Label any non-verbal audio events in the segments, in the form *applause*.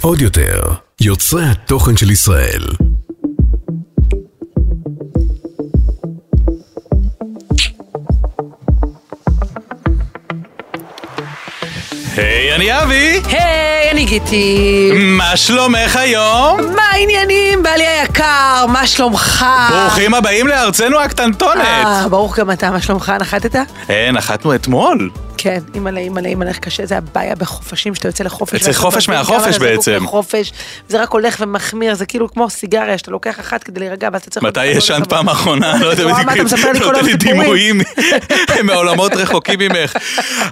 עוד יותר, יוצרי התוכן של ישראל. היי, אני אבי! היי, אני גיטי. מה שלומך היום? מה העניינים, בעלי היקר? מה שלומך? ברוכים הבאים לארצנו הקטנטונת! אה, ברוך גם אתה, מה שלומך? נחתת? אה, נחתנו אתמול. כן, אימא'לה, אימא'לה, אימא'לה, איך קשה, זה הבעיה בחופשים, שאתה יוצא לחופש. צריך ואתה חופש מבין מהחופש כמה אתה זקוק בעצם. לחופש, זה רק הולך ומחמיר, זה כאילו כמו סיגריה, שאתה לוקח אחת כדי להירגע, ואז אתה צריך... מתי עוד ישנת כמה. פעם אחרונה? לא יודע וואו, מה אתה מספר לי כל נותן היום לי סיפורים? דימויים *laughs* מעולמות רחוקים ממך.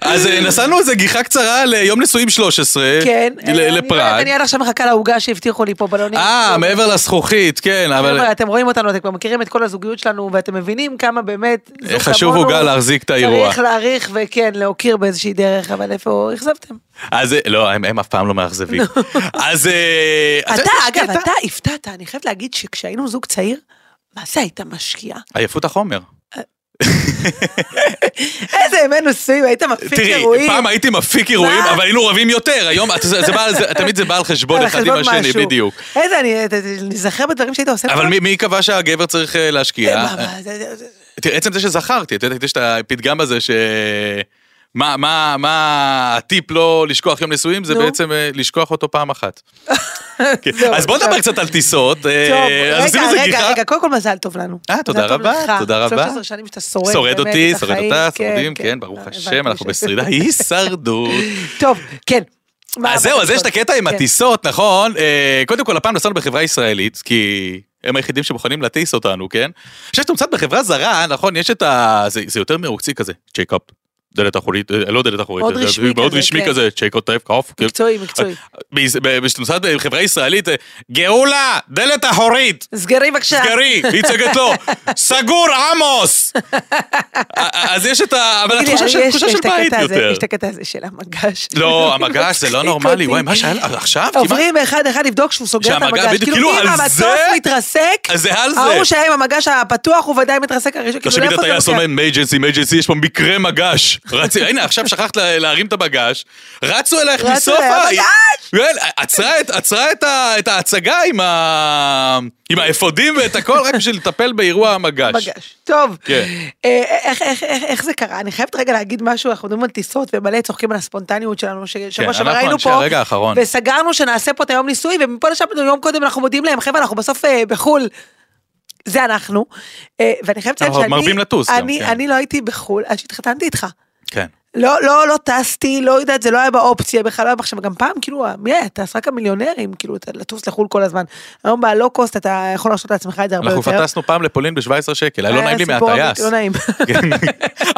אז אה, נסענו איזה גיחה קצרה ליום נישואים 13. כן. ל- אני- לפראג. אני עד עכשיו מחכה לעוגה שהבטיחו לי פה בלונים. אה, מעבר לזכוכית, כן, אבל... חבר'ה, אתם רואים אותנו, אתם כבר מכירים את כל הזוגיות שלנו, ואתם מבינים כמה באמת... זוג אה, חשוב כמונו עוגה להחזיק את האירוע. צריך להעריך וכן, להוקיר באיזושהי דרך, אבל איפה אכזבתם? אז אה, לא, הם הם אף פעם לא *laughs* מאכזבים. אז... אה, את אתה, יודעת, יש אגב, קטע- אתה הפתעת, אני חייבת להגיד שכשהיינו זוג צעיר, מה זה היית משקיע? עייפות החומר. *laughs* איזה ימי נשואים, היית מפיק תראי, אירועים. פעם הייתי מפיק אירועים, מה? אבל היינו רבים יותר, היום את- זה- זה בא *laughs* על זה- תמיד זה בא על חשבון על אחד עם חשבון השני, משהו. בדיוק. איזה, אני אתה- אתה- נזכר בדברים שהיית עושה. אבל פה? מי- מי קבע שהגבר צריך אה, להשקיע? מה, מה, זה- זה- זה- תראה, עצם זה שזכרתי, את יודעת, יש את הפתגם הזה ש... מה, מה, מה הטיפ לא לשכוח יום נישואים? זה נו. בעצם אה, לשכוח אותו פעם *laughs* אחת. כן. זהו, אז בוא עכשיו. נדבר קצת על טיסות. אה, טוב, אז עשינו רגע, איזה רגע, גיחה. רגע, קודם כל מזל טוב לנו. אה, תודה מזל טוב רבה, לך. תודה רבה. 13 שנים שאתה שורד. שורד באמת אותי, את שורד החיים, אותה, כן, שורדים, כן, כן, ברוך הבנתי השם, אנחנו ש- *laughs* בשרידה, הישרדות. טוב, כן. מה, מה אז זהו, אז יש את הטיסות? הקטע עם כן. הטיסות, נכון? אה, קודם כל, הפעם נסענו בחברה ישראלית, כי הם היחידים שמוכנים להטיס אותנו, כן? עכשיו, כשאתה מצאת בחברה זרה, נכון, יש את ה... זה זה יותר מרוקסי כזה, צ'ייקאפ. דלת אחורית, אה, לא דלת אחורית, מאוד אה, רשמי מאוד כזה, רשמי כן. כזה, צ'ייקו טייפ קאוף. כן. מקצועי, מקצועי. ביז- ב- כשאתה אה, נוסעת בחברה ישראלית, אה, גאולה, דלת אחורית, סגרי בבקשה. *laughs* סגרי, היא צועקת לו, סגור עמוס! אה, אז יש את ה... אבל תגידי, התחושה אבל של- יש- תחושה יש של את הקטע בית הזה- יותר. יש את הקטע הזה של המגש. לא, המגש *laughs* זה לא מצחיק נורמלי, אותי. וואי, מה שהיה עכשיו? כמעט- לא, עוברים אחד אחד לבדוק שהוא סוגר את שהמגש- המגש, בדיוק, כאילו כאילו, אם על המטוס זה- מתרסק, אז זה על זה. ההוא שהיה עם המגש הפתוח הוא ודאי מתרסק הראשון, כאילו תחשבי את לאיפה זה הטייס לוקח? אומר, מייג'נסי, מייג'נסי, יש פה מקרה מגש. רצי, הנה, עכשיו שכחת לה- להרים את המגש, רצו אלייך רצו מסוף אליה, ה... "המגש!" כן, עצרה את- עצרה את ה- את ההצגה עם ה- עם האפודים ואת הכל, רק בשביל לטפל באירוע המגש. מגש. טוב, כן. אה, איך- איך- איך איך זה קרה? אני חייבת רגע להגיד משהו, אנחנו מדברים על טיסות ומלא צוחקים על הספונטניות שלנו, כן, ששבוע אנחנו שעבר היינו אנשי פה, הרגע האחרון. וסגרנו שנעשה פה את היום ניסוי, ומפה לשם יום קודם אנחנו מודיעים להם, חבר'ה, אנחנו בסוף אה, בחו"ל. זה אנחנו, אה, ואני חייבת לציין אנחנו שאני, מרבים לטוס גם, אני- כן. אני לא הייתי בחו"ל עד שהתחתנתי איתך. כן. לא, לא, לא טסתי, לא יודעת, זה לא היה באופציה בכלל, לא היה עכשיו, גם פעם, כאילו, מי היה טס? רק המיליונרים, כאילו, אתה- לטוס לחו"ל כל הזמן. היום בלואו קוסט אתה יכול להרשות לעצמך את זה הרבה אנחנו יותר. פטסנו פעם לפולין ב-17 שקל, היה לא היה נעים לי סיפור אמיתי, מהטייס. לא נעים. *laughs* כן.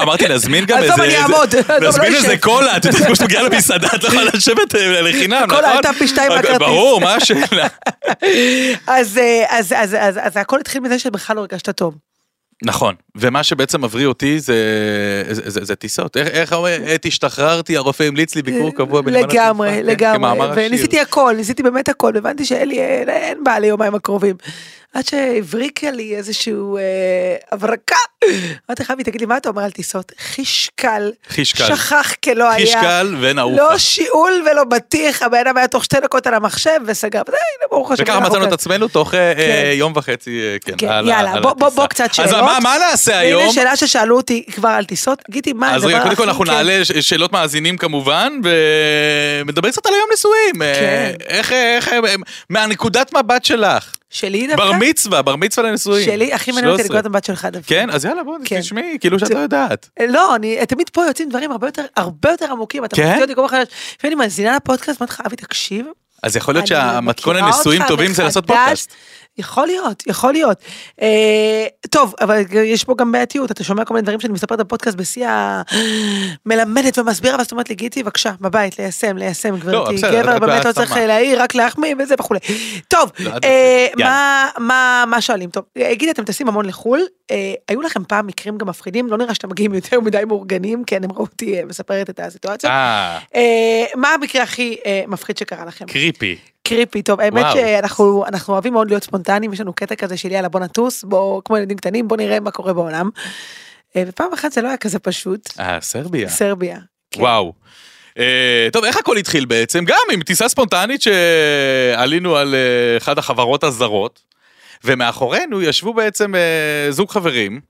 אמרתי להזמין גם איזה... עזוב, אני אעמוד. איזה- עזוב, לא להזמין איזה אשב. קולה, את יודעת, כמו שאת *laughs* מגיעה למסעדה, את לא יכולה לשבת אה, לחינם, נכון? הקולה עלתה פי שתיים מהכרטיס. ברור, *laughs* מה השאלה? אז, אה, אז, אז, אז, אז הכל התחיל מזה שבכלל לא הרגשת טוב. נכון, ומה שבעצם מבריא אותי זה, זה, זה, זה טיסות. איך- איך אומר, עת השתחררתי, הרופא המליץ לי ביקור קבוע בנמל התעופה. אה, לגמרי, כן, לגמרי. כמאמר השיר. וניסיתי הכל, ניסיתי באמת הכל, והבנתי שאלי, אה, אין בעיה ליומיים הקרובים. עד שהבריקה לי איזשהו אה, הברקה. אמרתי לך, אבי, תגיד לי, מה אתה אומר על טיסות? חישקל. חישקל. שכח כלא היה. חישקל ונעופה. לא שיעול ולא בטיח, הבן אדם היה תוך שתי דקות על המחשב וסגר. וזה, הנה, ברוך השם. וככה אנחנו מצאנו את כאן. עצמנו תוך אה, אוקיי. כן. אה, יום וחצי, אה, כן. כן, על ה- יאללה, על בוא- בוא- הטיסה. בוא קצת אז שאלות. מה- מה נעשה היום? הנה שאלה ששאלו אותי כבר על טיסות. גידי, מה הדבר אז הכי... רגע, קודם כל אנחנו כן? נעלה ש- שאלות מאזינים כמובן, ונדבר קצת על היום נישואים. אה, כן. איך, איך, אה, מהנקודת מבט שלך. שלי דווקא? בר מצווה, בר מצווה לנישואים. שלי, הכי מעניין אותי 13. נקודת המבט שלך דווקא. כן, אז יאללה, בואי, כן. תשמעי, כאילו שאת זה- לא יודעת. לא, אני, תמיד פה יוצאים דברים הרבה יותר, הרבה יותר עמוקים, אתה כן? מפתיע אותי כל כך חדש. לפעמים אני מאזינה לפודקאסט, אמרתי לך, אבי, תקשיב. אז יכול להיות אני שהמתכון מכירה לנישואים אותך טובים זה לעשות מחדש." פודקאסט. יכול להיות, יכול להיות. אה, טוב, אבל יש פה גם בעייתיות, אתה שומע כל מיני דברים שאני מספרת בפודקאסט בשיא ה... מלמדת ומסבירה, ואז את אומרת לי, גיטי, בבקשה, בבית, ליישם, ליישם, גברתי. בסדר, גבר את באמת לא בהעצמה. צריך להעיר, רק להחמיא וזה וכולי. טוב, לא, עד אה, הסוף. מה- מה מה שואלים? טוב, אה, גידי, אתם טסים המון לחו"ל, אה, היו לכם פעם מקרים גם מפחידים, לא נראה שאתם מגיעים יותר מדי מאורגנים, כן, הם ראו אותי אה, מספרת את הסיטואציה. אה, אה, מה המקרה הכי אה, מפחיד שקרה לכם? קריפי. קריפי, טוב, האמת וואו. שאנחנו אנחנו אוהבים מאוד להיות ספונטניים, יש לנו קטע כזה של יאללה בוא נטוס, בוא, כמו ילדים קטנים, בוא נראה מה קורה בעולם. אה, ופעם אחת זה לא היה כזה פשוט, אה, סרביה. סרביה. כן. וואו. אה, טוב, איך הכל התחיל בעצם? גם עם טיסה ספונטנית שעלינו על אה, אחת החברות הזרות, ומאחורינו ישבו בעצם אה, זוג חברים.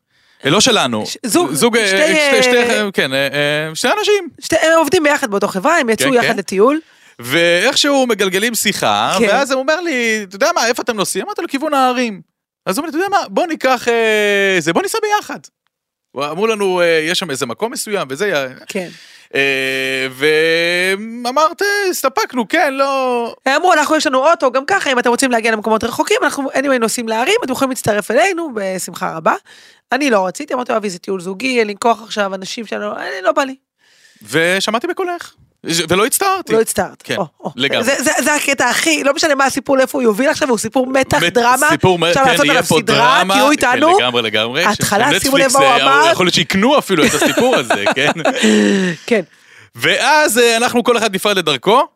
אה, לא שלנו, ש- זוג- זוג אה, שתי, שתי, שתי, אה, כן, אה, אה, שני אנשים, שתי- הם עובדים ביחד באותו חברה, הם יצאו כן, יחד כן. לטיול. ואיכשהו מגלגלים שיחה, כן. כן. ואז הוא אומר לי, אתה יודע מה, איפה אתם נוסעים? אמרתי לו, כיוון ההרים. אז הוא אומר לי, אתה יודע מה, בוא ניקח אה, זה, בוא ניסע ביחד. הוא אמרו לנו, אה, יש שם איזה מקום מסוים וזה, כן. אה, ואמרת, הסתפקנו, כן, לא... הם אמרו, אנחנו יש לנו אוטו, גם ככה, אם אתם רוצים להגיע למקומות רחוקים, אנחנו anyway נוסעים להרים, אתם יכולים להצטרף אלינו בשמחה רבה. אני לא רציתי, אמרתי לו, אבי, זה טיול זוגי, אין לי כוח עכשיו, אנשים שלנו, אה, לא בא לי, ושמעתי בקולך, ולא הצטערתי. לא הצטערת. כן, או, או. לגמרי. זה- זה- זה הקטע הכי, לא משנה מה הסיפור, לאיפה הוא יוביל עכשיו, הוא סיפור מתח, מת- דרמה, סיפור, מ- אפשר כן, לעשות יהיה עליו פה סדרה, דרמה. תהיו כן, איתנו. לגמרי, לגמרי. ההתחלה, של- שימו לב נטפליקס, מה הוא אה, אמר. יכול להיות שיקנו אפילו את הסיפור הזה, כן? *laughs* כן, ואז אה, אנחנו כל אחד נפרד לדרכו,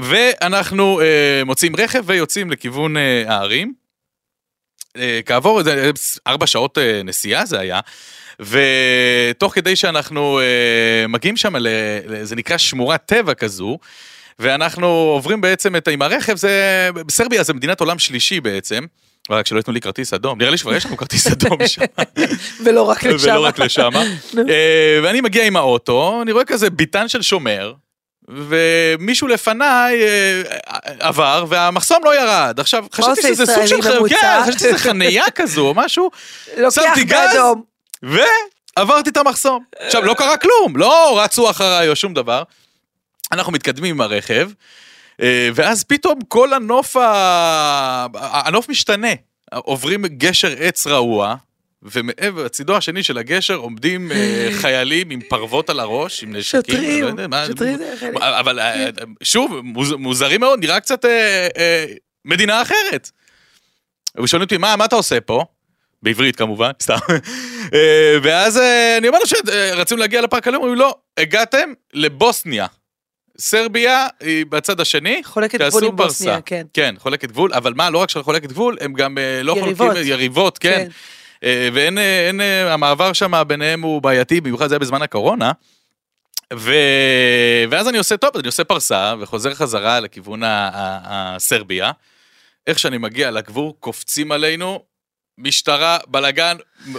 ואנחנו אה, מוצאים רכב ויוצאים לכיוון אה, הערים. אה, כעבור איזה אה, פס- ארבע שעות אה, נסיעה זה היה, ותוך כדי שאנחנו אה, מגיעים שם, ל, ל- זה נקרא שמורת טבע כזו, ואנחנו עוברים בעצם את, עם הרכב, זה, סרביה זה מדינת עולם שלישי בעצם, רק שלא ייתנו לי כרטיס אדום, נראה לי שכבר יש לנו כרטיס אדום שם. ולא רק לשם. ולא רק לשם. *laughs* נו. אה, ואני מגיע עם האוטו, אני רואה כזה ביטן של שומר, ומישהו לפניי אה, עבר, והמחסום לא ירד. עכשיו, חשבתי עושה שזה סוג ישראלי של חניה, ממוצע. כן, חשבתי שזה חניה כזו או משהו, לוקח שמתי גז, כן, לא באדום. ועברתי את המחסום. עכשיו, לא קרה כלום, לא רצו אחריי או שום דבר. אנחנו מתקדמים עם הרכב, אה, ואז פתאום כל הנוף, ה... הנוף משתנה. עוברים גשר עץ רעוע, ומעבר, הצידו השני של הגשר עומדים אה, חיילים עם פרוות על הראש, עם נשקים. אני לא שוטרים, יודע, מה- שוטרים זה חלק. אבל אה, שוב, מוז- מוזרים מאוד, נראה קצת אה, אה, מדינה אחרת. ושואלים אותי, מה, מה אתה עושה פה? בעברית כמובן, *laughs* סתם. אה, ואז אה, אני אומר לו שרצינו להגיע לפארק הלאומי, אומרים לא, הגעתם לבוסניה. סרביה היא בצד השני. חולקת שעשו גבול עם פרסה. בוסניה, כן. כן, חולקת גבול, אבל מה, לא רק שחולקת גבול, הם גם אה, לא יריבות. חולקים, יריבות, כן. כן. כן. ואין, אה, אין, אה, המעבר שם ביניהם הוא בעייתי, במיוחד זה היה בזמן הקורונה. ו... ואז אני עושה, טוב, אז אני עושה פרסה, וחוזר חזרה לכיוון ה- ה- הסרביה. איך שאני מגיע לגבור, קופצים עלינו, משטרה, בלאגן,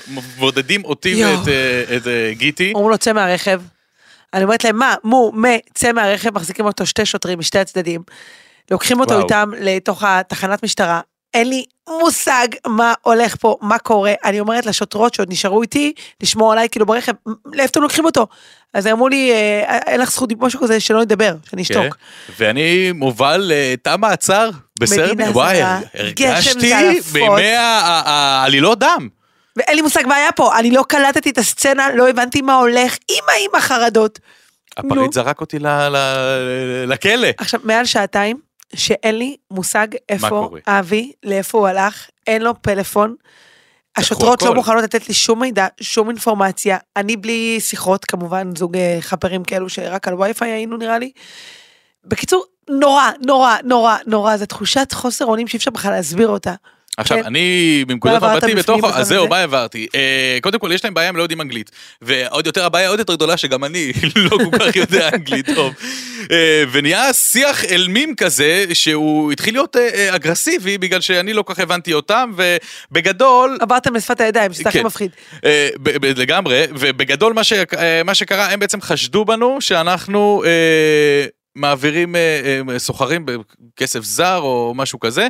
מבודדים אותי יואו. ואת אה, את, אה, גיטי. אומרים לו, צא מהרכב. אני אומרת להם, מה, מו, מה, צא מהרכב, מחזיקים אותו שתי שוטרים משתי הצדדים. לוקחים אותו וואו. איתם לתוך התחנת משטרה. אין לי מושג מה הולך פה, מה קורה. אני אומרת לשוטרות שעוד נשארו איתי, לשמור עליי כאילו ברכב, "מ- לאיפה אתם לוקחים אותו? אז הם אמרו לי, "אה, אין לך זכות דיבור, משהו כזה, שלא נדבר, שאני אשתוק. כן. ואני מובל אה, תא מעצר בסרביה. מדינה וואי, זרה, גשם הרגשתי זלעפות. בימי ה- ה- ה- העלילות דם. ואין לי מושג מה היה פה, אני לא קלטתי את הסצנה, לא הבנתי מה הולך, אימא אימא חרדות. נו. הפריט זרק אותי ל- ל- לכלא. עכשיו, מעל שעתיים, שאין לי מושג איפה קורה? אבי, לאיפה הוא הלך, אין לו פלאפון. השוטרות לא הכל. מוכנות לתת לי שום מידע, שום אינפורמציה. אני בלי שיחות, כמובן, זוג אה, חברים כאלו שרק על וי-פיי היינו נראה לי. בקיצור, נורא, נורא, נורא, נורא, זו תחושת חוסר אונים שאי אפשר בכלל להסביר אותה. עכשיו, כן. אני בנקודת מה עברת מבטי בפנים בתוך, בזמן אז זהו, הזה? מה העברתי? אה, קודם כל, יש להם בעיה, הם לא יודעים אנגלית. ועוד יותר, הבעיה עוד יותר גדולה, שגם אני *laughs* לא כל כך *laughs* יודע אנגלית טוב. אה, ונהיה שיח אילמים כזה, שהוא התחיל להיות אה, אה, אגרסיבי, בגלל שאני לא כל כך הבנתי אותם, ובגדול, עברתם לשפת הידיים, שזה הכי כן. מפחיד. אה, ב- ב- לגמרי, ובגדול מה, ש, אה, מה שקרה, הם בעצם חשדו בנו שאנחנו אה, מעבירים אה, אה, סוחרים בכסף זר או משהו כזה.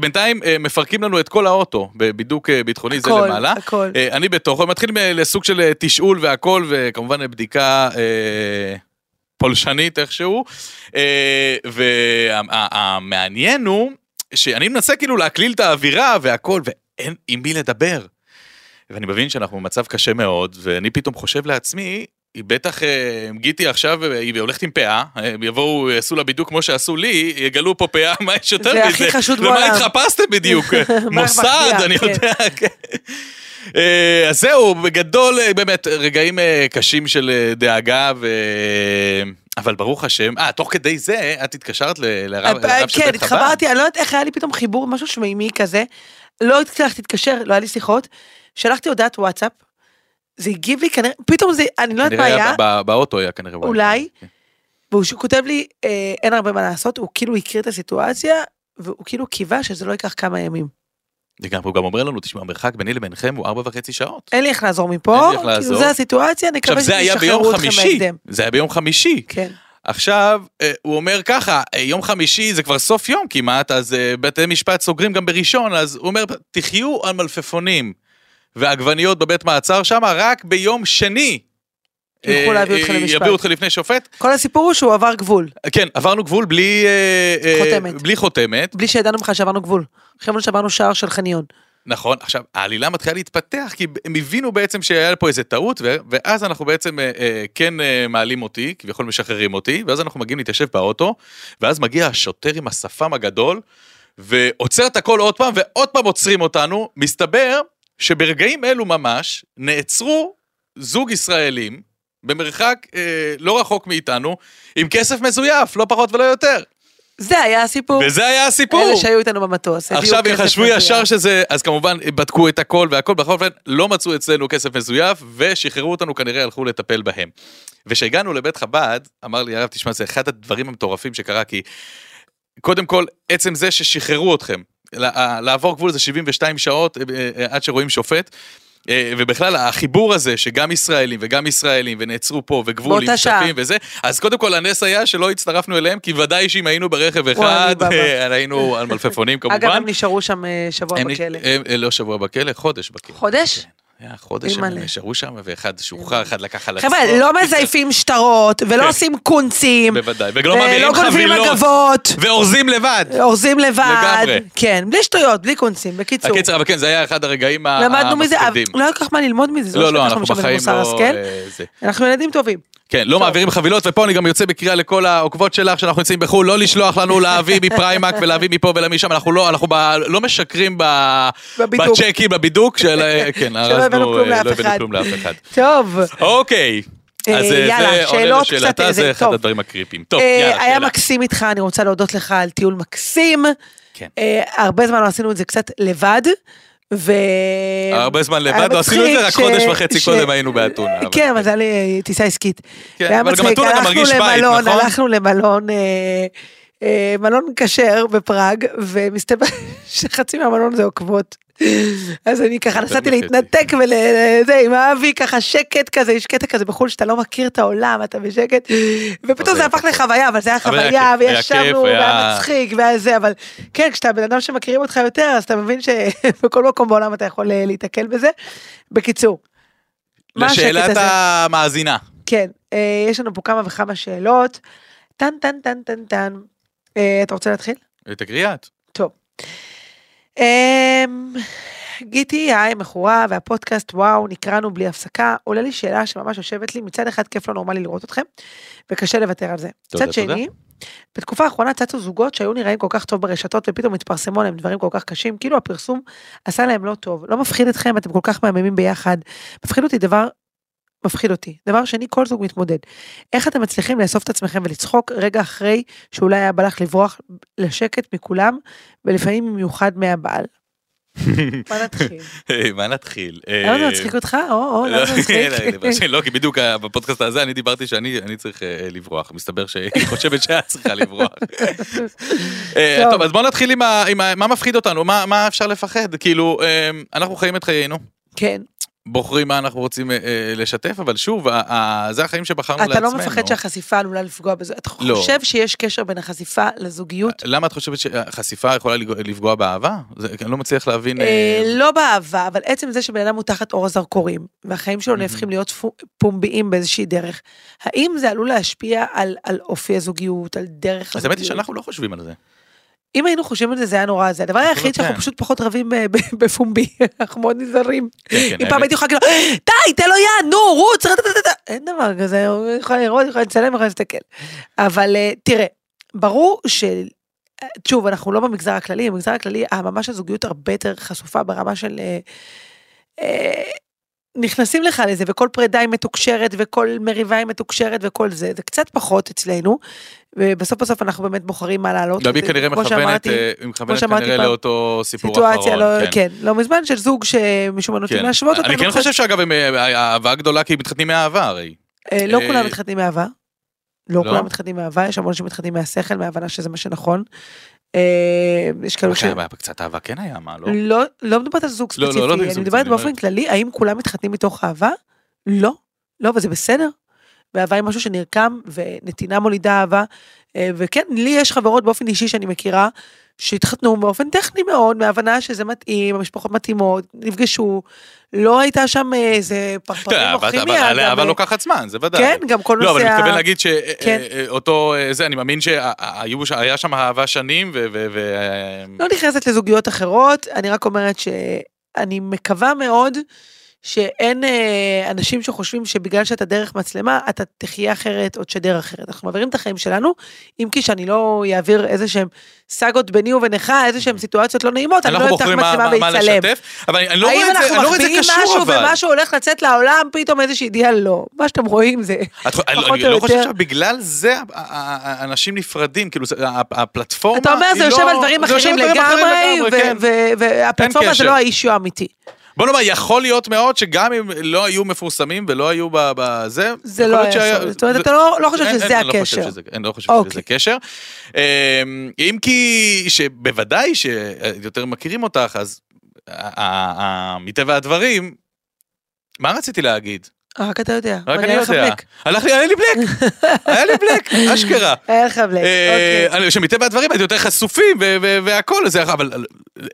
בינתיים אה, מפרקים לנו את כל האוטו בבידוק אה, ביטחוני זה הכל, למעלה. הכל. אה, אני בתוכו, הם מתחילים אה, לסוג של אה, תשאול והכל, וכמובן אה, בדיקה אה, פולשנית איכשהו. אה, והמעניין הוא שאני מנסה כאילו להקליל את האווירה והכל, ואין עם מי לדבר. ואני מבין שאנחנו במצב קשה מאוד, ואני פתאום חושב לעצמי, היא בטח, אה, אם גיטי עכשיו, אה, היא הולכת עם פאה, אה, הם יבואו, יעשו לה בדיוק כמו שעשו לי, יגלו פה פאה, *laughs* מה יש יותר זה מזה? הכי חשוד בעולם. למה התחפשתם בדיוק? *laughs* מה מוסד, המחביאה, אני כן. יודע, כן. אה, אז זהו, בגדול, אה, באמת, רגעים אה, קשים של אה, דאגה, ו... אבל ברוך השם, אה, תוך כדי זה, את התקשרת ל- לרב לרב של כן, בית חב"ד. התחברתי, אני לא יודעת איך היה לי פתאום חיבור, משהו שמימי כזה. לא הצלחתי להתקשר, לא היה לי שיחות. שלחתי הודעת וואטסאפ, זה הגיב לי כנראה, פתאום זה, אני לא יודעת מה כנראה היה, ב- ב- באוטו כן, היה כנראה. אולי. והוא ש- כותב לי, אה, אין הרבה מה לעשות, הוא כאילו הכיר את הסיטואציה, והוא כאילו קיווה שזה לא ייקח כמה ימים. לגמרי, הוא גם אומר לנו, תשמע, המרחק ביני לבינכם הוא ארבע וחצי שעות. אין לי איך לעזור אין מפה, לי איך כאילו לעזור. זה הסיטואציה, עכשיו, נקווה זה היה ביום שתשחררו אתכם חמישי. בהקדם. זה היה ביום חמישי. כן. עכשיו, אה, הוא אומר ככה, אה, יום חמישי זה כבר סוף יום כמעט, אז אה, בתי משפט סוגרים גם בראשון, אז הוא אומר, תחיו על מלפפונים ועגבניות בבית מעצר שם, רק ביום שני. ילכו אה, להביא אתכם אה, למשפט. יביאו אתכם לפני שופט. כל הסיפור הוא שהוא עבר גבול, כן, עברנו גבול בלי... אה, אה, חותמת. בלי חותמת, בלי שידענו בכלל שעברנו גבול. חשבנו שעברנו שער של חניון. נכון. עכשיו, העלילה מתחילה להתפתח, כי הם הבינו בעצם שהיה פה איזה טעות, ו- ואז אנחנו בעצם אה, אה, כן אה, מעלים אותי, כביכול משחררים אותי, ואז אנחנו מגיעים להתיישב באוטו, ואז מגיע השוטר עם השפם הגדול, ועוצר את הכל עוד פעם, ועוד פעם עוצרים אותנו. מסתבר שברגעים אלו ממש נעצרו זוג ישראלים במרחק אה, לא רחוק מאיתנו, עם כסף מזויף, לא פחות ולא יותר. זה היה הסיפור. וזה היה הסיפור. אלה שהיו איתנו במטוס. הביאו עכשיו הם כסף חשבו מזויף. ישר שזה, אז כמובן בדקו את הכל והכל, בכל אופן לא מצאו אצלנו כסף מזויף, ושחררו אותנו כנראה הלכו לטפל בהם. וכשהגענו לבית חב"ד, אמר לי הרב, תשמע, זה אחד הדברים המטורפים שקרה, כי קודם כל, עצם זה ששחררו אתכם, לע- לעבור גבול זה 72 שעות אה, אה, עד שרואים שופט. אה, ובכלל החיבור הזה שגם ישראלים וגם ישראלים ונעצרו פה וגבול באותה עם שעה. שטחים וזה, אז קודם כל הנס היה שלא הצטרפנו אליהם, כי ודאי שאם היינו ברכב וואי, אחד, אני בבא. אה, היינו על מלפפונים כמובן. אגב, הם נשארו שם אה, שבוע הם- בכלא. הם- אה, לא שבוע בכלא, חודש בכלא. חודש? כן. היה חודש הם אימא'לה. נשארו שם, ואחד שוחרר, אחד לקח על עצמו. חבר'ה, לא מזייפים שטרות, ולא כן. עושים קונצים, בוודאי, וגם מעבירים ולא גונבים חבילות, מגבות, ואורזים לבד. אורזים לבד. לגמרי. כן, בלי שטויות, בלי קונסים, בקיצור. הקיצר, אבל כן, זה היה אחד הרגעים ה- למדנו מזה, אבל המפחידים. לא היה כל כך מה ללמוד מזה, זה אה, לא, לא, שאנחנו אנחנו משלמים בחיים מוסר לא... השכל. אה, זה. אנחנו ילדים טובים. כן, לא מעבירים חבילות, ופה אני גם יוצא בקריאה לכל העוקבות שלך שאנחנו נמצאים בחו"ל, לא לשלוח לנו להביא *laughs* מפריימק ולהביא מפה ולמשם, אנחנו לא, אנחנו ב, לא משקרים ב, בבידוק. בצ'קים, בבידוק, של, כן, שלא הבאנו הרסנו, כלום אה, לאף לא הבאנו אחד. כלום לאף אחד. טוב. אוקיי. אה, אז אה, יאללה, זה עונה שאלות קצת, לשאלתה, אה, זה זה- אחד טוב. הדברים הקריפים. טוב, אה, יאללה, היה שאלה. מקסים איתך, אני רוצה להודות לך על טיול מקסים. כן. אה, הרבה זמן לא עשינו את זה קצת לבד. ו... הרבה זמן היה לבד, לא עשינו את זה, מצחיק רק ש- חודש וחצי ש- קודם היינו באתונה. אבל- כן, אבל זה היה לי אה, טיסה עסקית. כן, זה היה אבל גם מצחיק, אתונה גם הלכנו מרגיש בית, למלון, נכון? הלכנו למלון, אה, אה, מלון כשר בפראג, ומסתבר *laughs* שחצי מהמלון זה עוקבות. אז אני ככה נסעתי וחצי. להתנתק ולזה עם אבי ככה שקט כזה, יש קטע כזה בחו"ל שאתה לא מכיר את העולם, אתה בשקט, ופתאום אבל זה היה הפך לחוויה, אבל זה היה אבל היה חוויה, כיף, היה וישבנו, כיף, והיה היה- מצחיק, והיה זה, אבל כן, כשאתה בן אדם שמכירים אותך יותר, אז אתה *laughs* מבין שבכל מקום בעולם אתה יכול אה, להיתקל בזה. בקיצור, מה השקט לשאלת הזה? המאזינה. כן, אה, יש לנו פה כמה וכמה שאלות. טן טן טן טן טן. אה, אתה רוצה להתחיל? תקריאי את. טוב. אה, גיטי, היי, מכורה, והפודקאסט, וואו, נקרענו בלי הפסקה. עולה לי שאלה שממש יושבת לי, מצד אחד כיף לא נורמלי לראות אתכם, וקשה לוותר על זה. תודה, מצד תודה. שני, בתקופה האחרונה צצו זוגות שהיו נראים כל כך טוב ברשתות, ופתאום התפרסמו עליהם דברים כל כך קשים, כאילו הפרסום עשה להם לא טוב. לא מפחיד אתכם, אתם כל כך מהממים ביחד. מפחיד אותי דבר... מפחיד אותי. דבר שני, כל זוג מתמודד. איך אתם מצליחים לאסוף את עצמכם ולצחוק רגע אחרי שאולי היה בא לך לברוח לשקט מכולם, ולפעמים במיוחד *laughs* מהבעל. מה נתחיל? אה, מה נתחיל? למה זה אה, מצחיק אותך? או, או, לא, למה זה *laughs* מצחיק? לא, כי בדיוק בפודקאסט הזה אני דיברתי שאני אני צריך אה, לברוח, מסתבר שהיא חושבת שאת צריכה לברוח. אה, טוב. טוב, אז בוא נתחיל עם ה- עם ה- מה מפחיד אותנו, מה מה אפשר לפחד, כאילו, אה, אנחנו חיים את חיינו. כן. בוחרים מה אנחנו רוצים אה, אה, לשתף, אבל שוב, ה- ה- זה החיים שבחרנו לעצמנו. אתה לא מפחד שהחשיפה עלולה לפגוע בזה? אתה לא. אה, חושב שיש קשר בין החשיפה לזוגיות? למה את חושבת שהחשיפה יכולה לג- לפגוע באהבה? זה- אני לא מצליח להבין... אה, אה, לא באהבה, אבל עצם זה שבן אדם הוא תחת אור הזרקורים, והחיים שלו נהפכים להיות פו- פומביים באיזושהי דרך, האם זה עלול להשפיע על על אופי הזוגיות, על דרך אז האמת היא הזוגיות? שאנחנו לא חושבים על זה. אם היינו חושבים על זה, זה היה נורא, זה הדבר היחיד כן. שאנחנו פשוט פחות רבים ב- ב- בפומבי, *laughs* אנחנו מאוד נזהרים. כן, אם האמת- פעם הייתי יכולה כאילו, די, תן לו יד, נו, רוץ, רטטטטט." אין דבר כזה, הוא יכול לראות, יכול לצלם, יכול להסתכל. אבל אה, תראה, ברור ש... אה, שוב, אנחנו לא במגזר הכללי, במגזר הכללי, אה, ממש הזוגיות הרבה יותר חשופה ברמה של... אה, אה, נכנסים לך לזה, וכל פרידה היא מתוקשרת, וכל מריבה היא מתוקשרת, וכל זה, זה קצת פחות אצלנו, ובסוף בסוף אנחנו באמת בוחרים מה לעלות. גבי וזה, כנראה כמו מכוונת, שאמרתי, אה, היא מכוונת שאמרתי כנראה פעם. לאותו סיפור אחרון. סיטואציה, לא, כן. לא מזמן, של זוג שמשום מה נוטים כן. להשוות אותנו. נכון? אני כן קצת- אה, חושב שאגב, הם, אה, האהבה גדולה כי מתחתנים מהאהבה הרי. אה, לא אה, כולם מתחתנים מאהבה. לא לא. כולם מתחתנים מאהבה, יש המון שמתחתנים מהשכל, מההבנה שזה מה שנכון. אה, יש כאלה ש... אוקיי, אבל קצת אהבה כן היה, מה, לא? לא, לא מדברת על זוג לא, לא, לא ספציפי, בזוג אני ספציפי, לא. מדברת אני באופן אומרת. כללי, האם כולם מתחתנים מתוך אהבה? לא, לא, וזה בסדר. ואהבה היא משהו שנרקם, ונתינה מולידה אהבה. אה, וכן, לי יש חברות באופן אישי שאני מכירה, שהתחתנו באופן טכני מאוד, מהבנה שזה מתאים, המשפחות מתאימות, נפגשו, לא הייתה שם אה, איזה *laughs* אתה יודע, פרפרים או אבל- אבל- כימיה. אבל גם, אהבה אה, לוקחת זמן, זה ודאי. כן, גם כל נושא... לא, אבל אני ה- מתכוון להגיד אה, כן. שאותו, זה, אני מאמין שהיה שם אהבה שנים, ו... ו- ו- לא נכנסת לזוגיות אחרות, אני רק אומרת שאני מקווה מאוד שאין אה, אנשים שחושבים שבגלל שאתה דרך מצלמה, אתה תחיה אחרת או תשדר אחרת. אנחנו מעבירים את החיים שלנו, אם כי שאני לא אעביר איזה שהם סאגות ביני ובינך, איזה שהם סיטואציות לא נעימות, אני לא אנחנו אפתח בוחרים מה- מצלמה מה- מה ואצלם. לשתף, אבל אני לא האם רואה את זה- אני אנחנו לא רואה את זה מחביאים קשור, משהו אבל. ומשהו הולך לצאת לעולם, פתאום איזושהי ידיעה לא. מה שאתם רואים זה... את חו- אני לא- פחות אני או לא חושב יותר. שבגלל זה ה- ה- ה- האנשים נפרדים, כאילו זה- ה- ה- הפלטפורמה אתה אומר היא זה יושב לא- על דברים זה יושב אחרים על דברים אחרים לגמרי, לגמרי, ו- כן. ו- והפלטפורמה זה קשר. לא האישיו האמיתי. בוא נאמר, יכול להיות מאוד שגם אם לא היו מפורסמים ולא היו ב- בזה, זה יכול לא להיות היה שהיה- סוד. זאת אומרת, זה- אתה לא לא חושב אין- שזה אין, אני לא חושב הקשר. שזה- אני לא חושב אוקיי. שזה קשר. אמ, אם כי שבוודאי שיותר מכירים אותך, אז ה- ה- ה- מטבע הדברים, מה רציתי להגיד? רק אתה יודע. רק ואני אני היה לך יודע. בלק. הלך לי, היה לי בלק, היה לי בלק, אשכרה. היה לך בלק, אה, *laughs* אוקיי. אני- שמטבע הדברים הייתם יותר חשופים ו- ו- והכל זה, אבל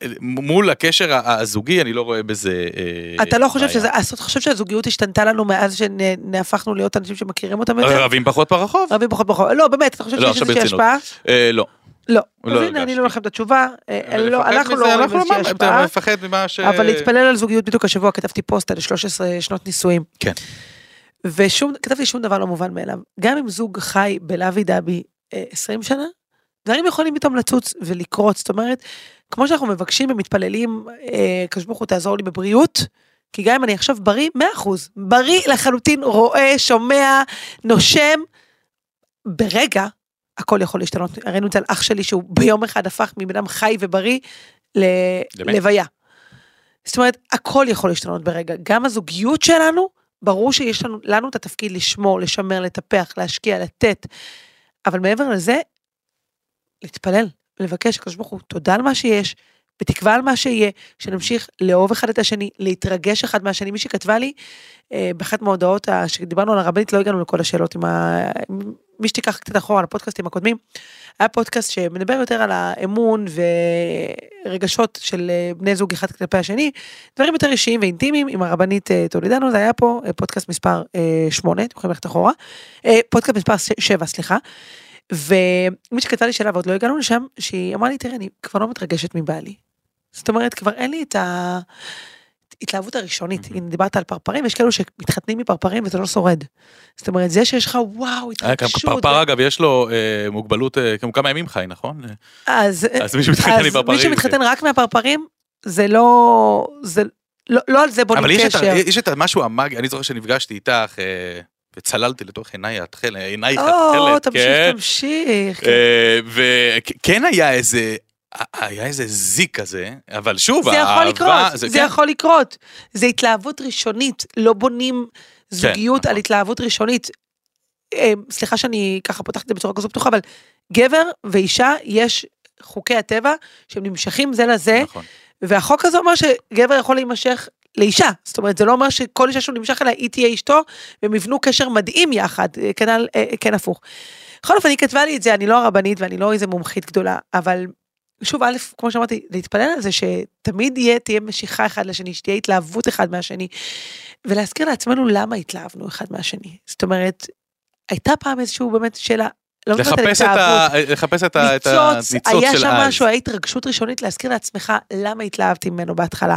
אה, מול הקשר ה- הזוגי אני לא רואה בזה... אה, אתה לא חושב בעיה. שזה, אז אתה חושב שהזוגיות השתנתה לנו מאז שנהפכנו להיות אנשים שמכירים אותם יותר? רבים פחות ברחוב? רבים פחות פחות. לא, באמת, אתה חושב אה, לא, שיש עכשיו איזושהי ברצינות. השפעה? אה, לא. לא. לא אז הנה, הרגשתי. ענינו לכם את התשובה. אה, אבל לא, לפחד אנחנו מזה, לא רואים אנחנו איזושהי מה- השפעה. אתה מפחד ממה ש... אבל להתפלל על זוגיות, בדיוק השבוע כתבתי פוסט על 13 שנות נישואים. כן. ושום, כתבתי שום דבר לא מובן מאליו. גם אם זוג חי בלאבי דאבי אה, 20 שנה, דברים יכולים פתאום לצוץ ולקרות. זאת אומרת, כמו שאנחנו מבקשים ומתפללים, אה, הקדוש ברוך הוא תעזור לי בבריאות, כי גם אם אני עכשיו בריא, 100%, בריא לחלוטין, רואה, שומע, נושם, ברגע, הכל יכול להשתנות. ראינו את זה על אח שלי, שהוא ביום אחד הפך מבן אדם חי ובריא למת. ללוויה. זאת אומרת, הכל יכול להשתנות ברגע. גם הזוגיות שלנו, ברור שיש לנו, לנו את התפקיד לשמור, לשמר, לטפח, להשקיע, לתת. אבל מעבר לזה, להתפלל, לבקש, הקדוש ברוך הוא, תודה על מה שיש, בתקווה על מה שיהיה, שנמשיך לאהוב אחד את השני, להתרגש אחד מהשני. מישהי כתבה לי, אה, באחת מההודעות ה- שדיברנו על הרבנית, לא הגענו לכל השאלות עם ה... מי שתיקח קצת אחורה לפודקאסטים הקודמים, היה פודקאסט שמדבר יותר על האמון ורגשות של אה, בני זוג אחד כלפי השני, דברים יותר אישיים ואינטימיים עם הרבנית אה, טולידנו, זה היה פה אה, פודקאסט מספר 8, אתם יכולים ללכת אחורה, אה, פודקאסט מספר 7, סליחה. ומי שכתבה לי שאלה ועוד לא הגענו לשם, שהיא אמרה לי, תראה, אני כבר לא מתרגשת מבעלי. זאת אומרת, כבר אין לי את ההתלהבות הראשונית. Mhm. הנה, דיברת על פרפרים, יש כאלו שמתחתנים מפרפרים וזה לא שורד. זאת אומרת, זה שיש לך, וואו, אה, גם התרגשות. פרפר אגב יש לו אה, מוגבלות אה, כמו כמה ימים חי נכון? אה, אז אז מי שמתחתן עם אז פרפרים. מי שמתחתן רק מהפרפרים, זה לא... זה לא- לא על זה בונים אבל יש את ה- קשר. יש את המשהו המאגי אני זוכר שנפגשתי איתך אה, וצללתי לתוך עיניי התכלת עינייך או, התכלת. תמשיך, כן. אה, תמשיך. וכן היה איזה היה איזה זיק כזה אבל שוב זה יכול האהבה- לקרות, זה כן. יכול לקרות. זה התלהבות ראשונית, לא בונים זוגיות על נכון. התלהבות ראשונית. אה, סליחה שאני ככה פותחת את זה בצורה כזו פתוחה, אבל גבר ואישה, יש חוקי הטבע שהם נמשכים זה לזה, נכון. והחוק הזה אומר שגבר יכול להימשך לאישה. זאת אומרת, זה לא אומר שכל אישה שהוא נמשך אליה, היא תהיה אשתו, והם יבנו קשר מדהים יחד, אה, כנ"ל, אה, כן הפוך. בכל אופן, היא כתבה לי את זה, אני לא הרבנית ואני לא איזה מומחית גדולה, אבל שוב, א', כמו שאמרתי, להתפלל על זה שתמיד יהיה, תהיה משיכה אחד לשני, שתהיה התלהבות אחד מהשני, ולהזכיר לעצמנו למה התלהבנו אחד מהשני. זאת אומרת, הייתה פעם איזשהו באמת שאלה, לא מדברת על לחפש את ה- התלהבות, לחפש את ה- את ניצוץ, הניצוץ היה של שם אז. משהו, היה התרגשות ראשונית להזכיר לעצמך למה התלהבתי ממנו בהתחלה,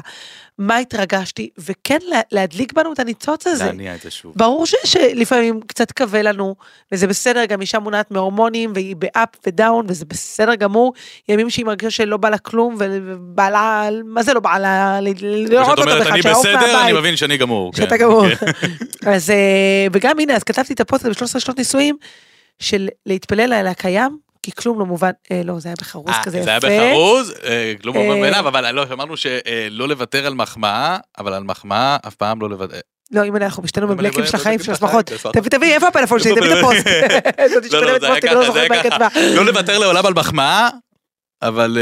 מה התרגשתי, וכן לה- להדליק בנו את הניצוץ הזה. להניע את זה שוב. ברור ש, שלפעמים קצת קווה לנו, וזה בסדר, גם אישה מונעת מהורמונים, והיא באפ ודאון, וזה בסדר גמור. ימים שהיא מרגישה שלא בא לה כלום, ובעלה, מה זה לא בא לה? ל- כשאת לראות אותו אומרת בכלל, אני שיעוף בסדר אני מהבית. מבין שאני גמור. כן. שאתה גמור. כן. *laughs* אז, אה, וגם הנה, אז כתבתי את הפוסט הזה ב-13 שנות נישואים, של להתפלל על הקיים, כי כלום לא מובן, אה, לא, זה היה בחרוז אה, כזה יפה. זה היה בחרוז, אה, לא אה, אה, מובן מאליו, אבל לא, אמרנו שלא לוותר על מחמאה, אבל על מחמאה אף פעם לא לוותר. לא, אם אנחנו בשתינו אם אני בבלקים ב- של החיים בבלקים של של החיים, השמחות. כן, סבבה. תביא, תביא, איפה הפלאפון שלי? תביא את הפוסט. *laughs* *laughs* לא, זאת לא, השתוללת זה היה פוסט, אני לא ככה, זה זוכרת מה היה היא ככה. כתבה. לא לוותר לעולם על מחמאה, אבל...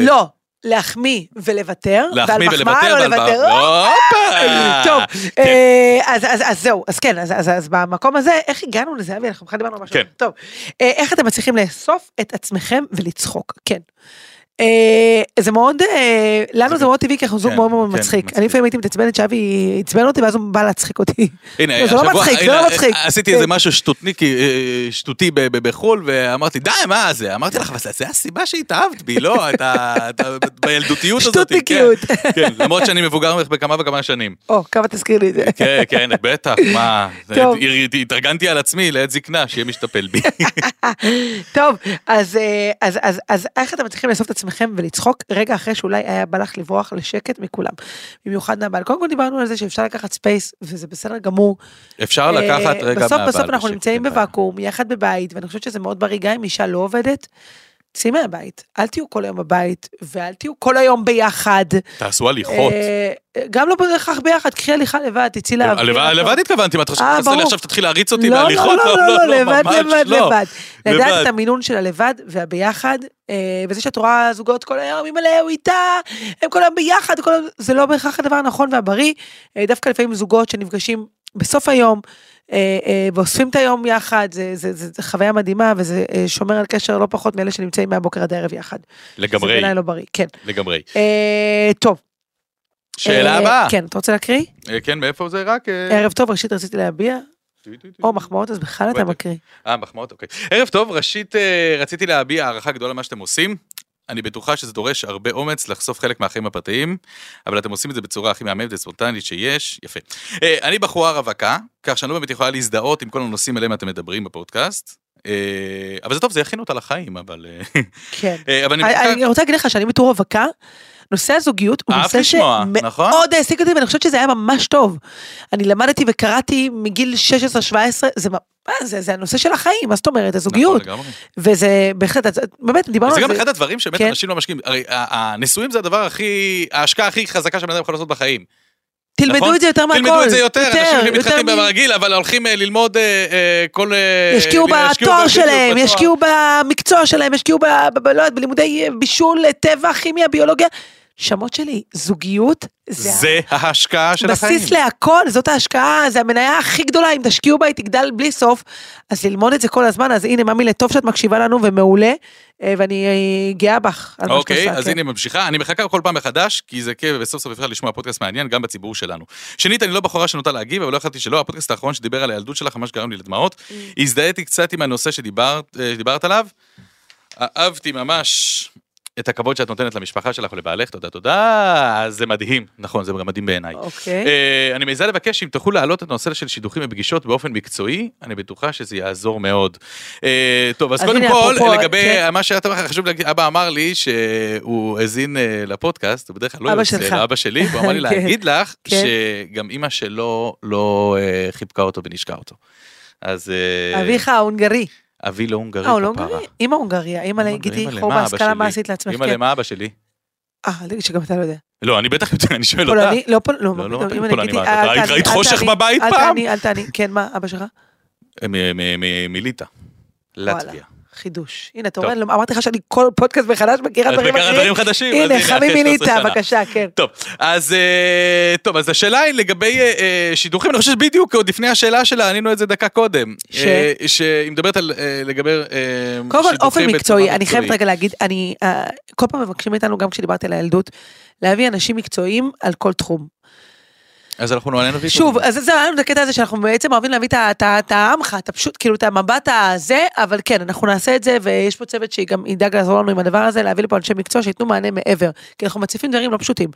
אה, לא, להחמיא ולוותר, ועל להחמיא מחמאה ולוותר לא ועל... לוותר. הופה! טוב, כן. אה, אז, אז, אז זהו, אז כן, אז, אז, אז במקום הזה, איך הגענו לזה, אבי, אנחנו בכלל דיברנו על משהו. כן. אחר. טוב, אה, איך אתם מצליחים לאסוף את עצמכם ולצחוק, כן. אה, זה מאוד, אה, לנו זה מאוד טבעי, כי אנחנו זוג כן, מאוד מאוד כן, מצחיק. מצחיק. אני לפעמים הייתי מתעצבנת שאבי עצבן אותי, ואז הוא בא *laughs* להצחיק אותי. הנה, לא, זה לא השבוע- מצחיק, זה הנה, אה, לא מצחיק. עשיתי כן. איזה משהו שטותניק, אה, שטותי ב- ב- בחו"ל, ואמרתי, די, מה זה? אמרתי לך, אבל זה- זה הסיבה שהתאהבת בי, לא? אתה אתה בילדותיות הזאת. כן. שטותניקיות. כן, למרות שאני מבוגר ממך בכמה וכמה שנים. או, כמה תזכיר לי את זה. כן, כן, בטח, מה? טוב. התארגנתי על עצמי לעת זקנה, שיהיה משתפל בי. *laughs* טוב, אז, אה, אז, אז, אז איך אתם מצליחים לאסוף את עצמכם ולצחוק רגע אחרי שאולי היה בא לך לברוח לשקט מכולם, במיוחד מהבעל. קודם כל דיברנו על זה שאפשר לקחת ספייס, וזה בסדר גמור. אפשר לקחת אה, רגע בסוף מהבעל בסוף אנחנו בשקט, כן. נמצאים אין בעיה. בוואקום, יחד בבית, ואני חושבת שזה מאוד בריא, גם אם אישה לא עובדת, צאי מהבית, אל תהיו כל היום בבית, ואל תהיו כל היום ביחד. תעשו הליכות. אה, גם לא בהכרח ביחד, קחי הליכה לבד, תצאי לאוויר. לבד לבד התכוונתי, מה את חושבת? אה, חסר לי ברור. עכשיו שתתחיל להריץ אותי לא, בהליכות? לא, לא, לא, לא, לבד, ממש לבד, לא. לבד. לדעת לבד. את המינון של הלבד והביחד, אה, וזה שאת רואה זוגות כל היום, אימא'לה, הוא איתה, הם כל היום ביחד, כל היום, זה לא בהכרח הדבר הנכון והבריא. אה, דווקא לפעמים זוגות שנפגשים בסוף היום, אה, אה, ואוספים את היום יחד, זה, זה, זה, זה חוויה מדהימה, וזה אה, שומר על קשר לא פחות מאלה שנמצאים מהבוקר עד הערב יחד. זה לגמרי, בעיניי לא בריא, כן. לגמרי. אה, טוב. שאלה אה, הבאה. כן, אתה רוצה להקריא? אה, כן, מאיפה זה? רק... אה, ערב טוב, ראשית רציתי להביע, טוי, טוי, טוי. או מחמאות, אז בכלל אתה בטח. מקריא. אה, מחמאות, אוקיי. ערב טוב, ראשית אה, רציתי להביע הערכה גדולה למה שאתם עושים. אני בטוחה שזה דורש הרבה אומץ לחשוף חלק מהחיים הפרטיים, אבל אתם עושים את זה בצורה הכי מהממת וספונטנית שיש. יפה. אה, אני בחורה רווקה, כך שאני לא באמת יכולה להזדהות עם כל הנושאים עליהם אתם מדברים בפודקאסט. אה, אבל זה טוב, זה יכין אותה לחיים, אבל... אה, כן. אה, אבל אני... אני מחכה- אני רוצה להגיד לך שאני בתור רווקה, נושא הזוגיות הוא אהבת נושא לשמוע, נכון? שמאוד העסיק אותי, ואני חושבת שזה היה ממש טוב. אני למדתי וקראתי מגיל 16-17, זה, מ- מה זה, זה הנושא של החיים, מה זאת אומרת, הזוגיות. נכון, לגמרי. וזה בהחלט, אז- באמת, דיברנו זה על גם לא, זה. אחד הדברים שבאמת כן. אנשים לא משקיעים. הרי ה- הנישואים זה הדבר הכי, ההשקעה הכי חזקה שבן אדם יכול לעשות בחיים. תלמדו נכון? את זה יותר מהכל. תלמדו את זה יותר, אנשים Oh יותר מתחתנים מ- ברגיל, אבל הולכים אה, ללמוד אה, אה, כל... אה, ישקיעו ל- בתואר בדיוק, שלהם, בתואר. ישקיעו במקצוע שלהם, ישקיעו ב- ב- ב- לא יודעת, בלימודי בישול, טבע, כימיה, ביולוגיה. שמות שלי, זוגיות, זה זה ההשקעה של החיים. בסיס להכל, זאת ההשקעה, זה המניה הכי גדולה, אם תשקיעו בה היא תגדל בלי סוף. אז ללמוד את זה כל הזמן, אז הנה ממי, טוב שאת מקשיבה לנו ומעולה, אה, ואני אה, גאה בך על מה שאת אוקיי, עושה. אז כן. הנה ממשיכה, אני מחכה כל פעם מחדש, כי זה כיף, וסוף סוף אפשר לשמוע פודקאסט מעניין גם בציבור שלנו. שנית, אני לא בחורה שנוטה להגיב, אבל לא יכלתי שלא, הפודקאסט האחרון שדיבר על הילדות שלך ממש גרם לי לדמעות. Mm. הזדהיתי קצת עם הנושא שדיברת אה, שדיברת עליו. אהבתי ממש את הכבוד שאת נותנת למשפחה שלך ולבעלך, תודה תודה, אז זה מדהים, נכון, זה גם מדהים בעיניי. אוקיי. אה, אני מעיזה לבקש אם תוכלו להעלות את הנושא של שידוכים ופגישות באופן מקצועי, אני בטוחה שזה יעזור מאוד. אה, טוב, אז אז קודם הנה, כל, אפרופו, לגבי כן. מה שהיה לך חשוב להגיד, אבא אמר לי שהוא האזין אה, לפודקאסט, הוא בדרך כלל לא אבא יוצא, שלך. אלא אבא שלי, והוא אמר לי *laughs* כן. להגיד לך כן. שגם אימא שלו לא אה, חיבקה אותו ונשקה אותו. אז... אה, אביך ההונגרי. אבי לא הונגרי, אה, הוא לא כפרה. הונגרי? אימא הונגריה, אימא אימא, לגידי אימא למה, חור אבא בהשכלה שלי? מעשית לעצמך. אימא כן. למה אבא שלי? אה, אל תגיד שגם אתה לא יודע. לא, אני בטח יודע, *laughs* אני שואל אותה. פולני? לא פולני, לא, לא, מה לא, פתאום, אימא פולני, לגידי, מה, אה, אתה ראית- אל ראית תעני, אל חושך תעני, בבית אל פעם? תעני, אל תעני. כן, מה, אבא שלך? אה, מ- מ- מ- מליטא. לטביה. חידוש. הנה, אתה רואה, לא- אמרתי לך שאני כל פודקאסט מחדש מכירה את דברים מכירה אחרים. אה, דברים חדשים. אז הנה, אחרי חמי 13 מילית, שנה. בבקשה, כן. טוב, אז אה, טוב, אז השאלה היא לגבי אה, אה, שידוכים, אני חושב שבדיוק עוד לפני השאלה שלה ענינו את זה דקה קודם. ש? אה, שהיא מדברת על אה, לגבי אה, שידוכים. קודם כל אופן בצורה מקצועי, אני מקצועית. חייבת רגע להגיד, אני, אה, כל פעם מבקשים מאיתנו, גם כשדיברתי על הילדות, להביא אנשים מקצועיים על כל תחום. אז אנחנו נענה נביא. שוב, אז זה היה לנו את הקטע הזה שאנחנו בעצם אוהבים להביא את ה- את ה- את העמך, את הפשוט, כאילו את המבט הזה, אבל כן, אנחנו נעשה את זה, ויש פה צוות שהיא גם ידאג לעזור לנו עם הדבר הזה, להביא לפה אנשי מקצוע שייתנו מענה מעבר, כי אנחנו מציפים דברים לא פשוטים.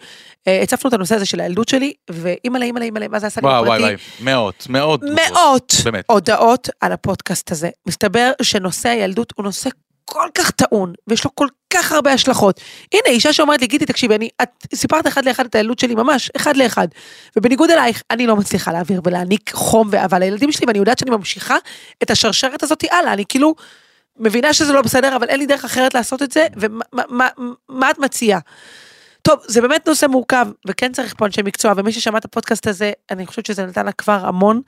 אה, הצפנו את הנושא הזה של הילדות שלי, ואימא'לה, אימא'לה, אימא'לה, מה זה עשה לי וואי וואי בפרטי, וואי, מאות, מאות. תגובות. מאות באמת. הודעות על הפודקאסט הזה. מסתבר שנושא הילדות הוא נושא כל כך טעון, ויש לו כל כך הרבה השלכות. הנה, אישה שאומרת לי, גידי, תקשיבי, אני, את סיפרת אחד לאחד את הילדות שלי, ממש, אחד לאחד. ובניגוד אלייך, אני לא מצליחה להעביר ולהעניק חום ואהבה לילדים שלי, ואני יודעת שאני ממשיכה את השרשרת הזאת הלאה, אני כאילו... מבינה שזה לא בסדר, אבל אין לי דרך אחרת לעשות את זה, ומה מה- מה- מה את מציעה? טוב, זה באמת נושא מורכב, וכן צריך פה אנשי מקצוע, ומי ששמע את הפודקאסט הזה, אני חושבת שזה נתן לה כבר המון.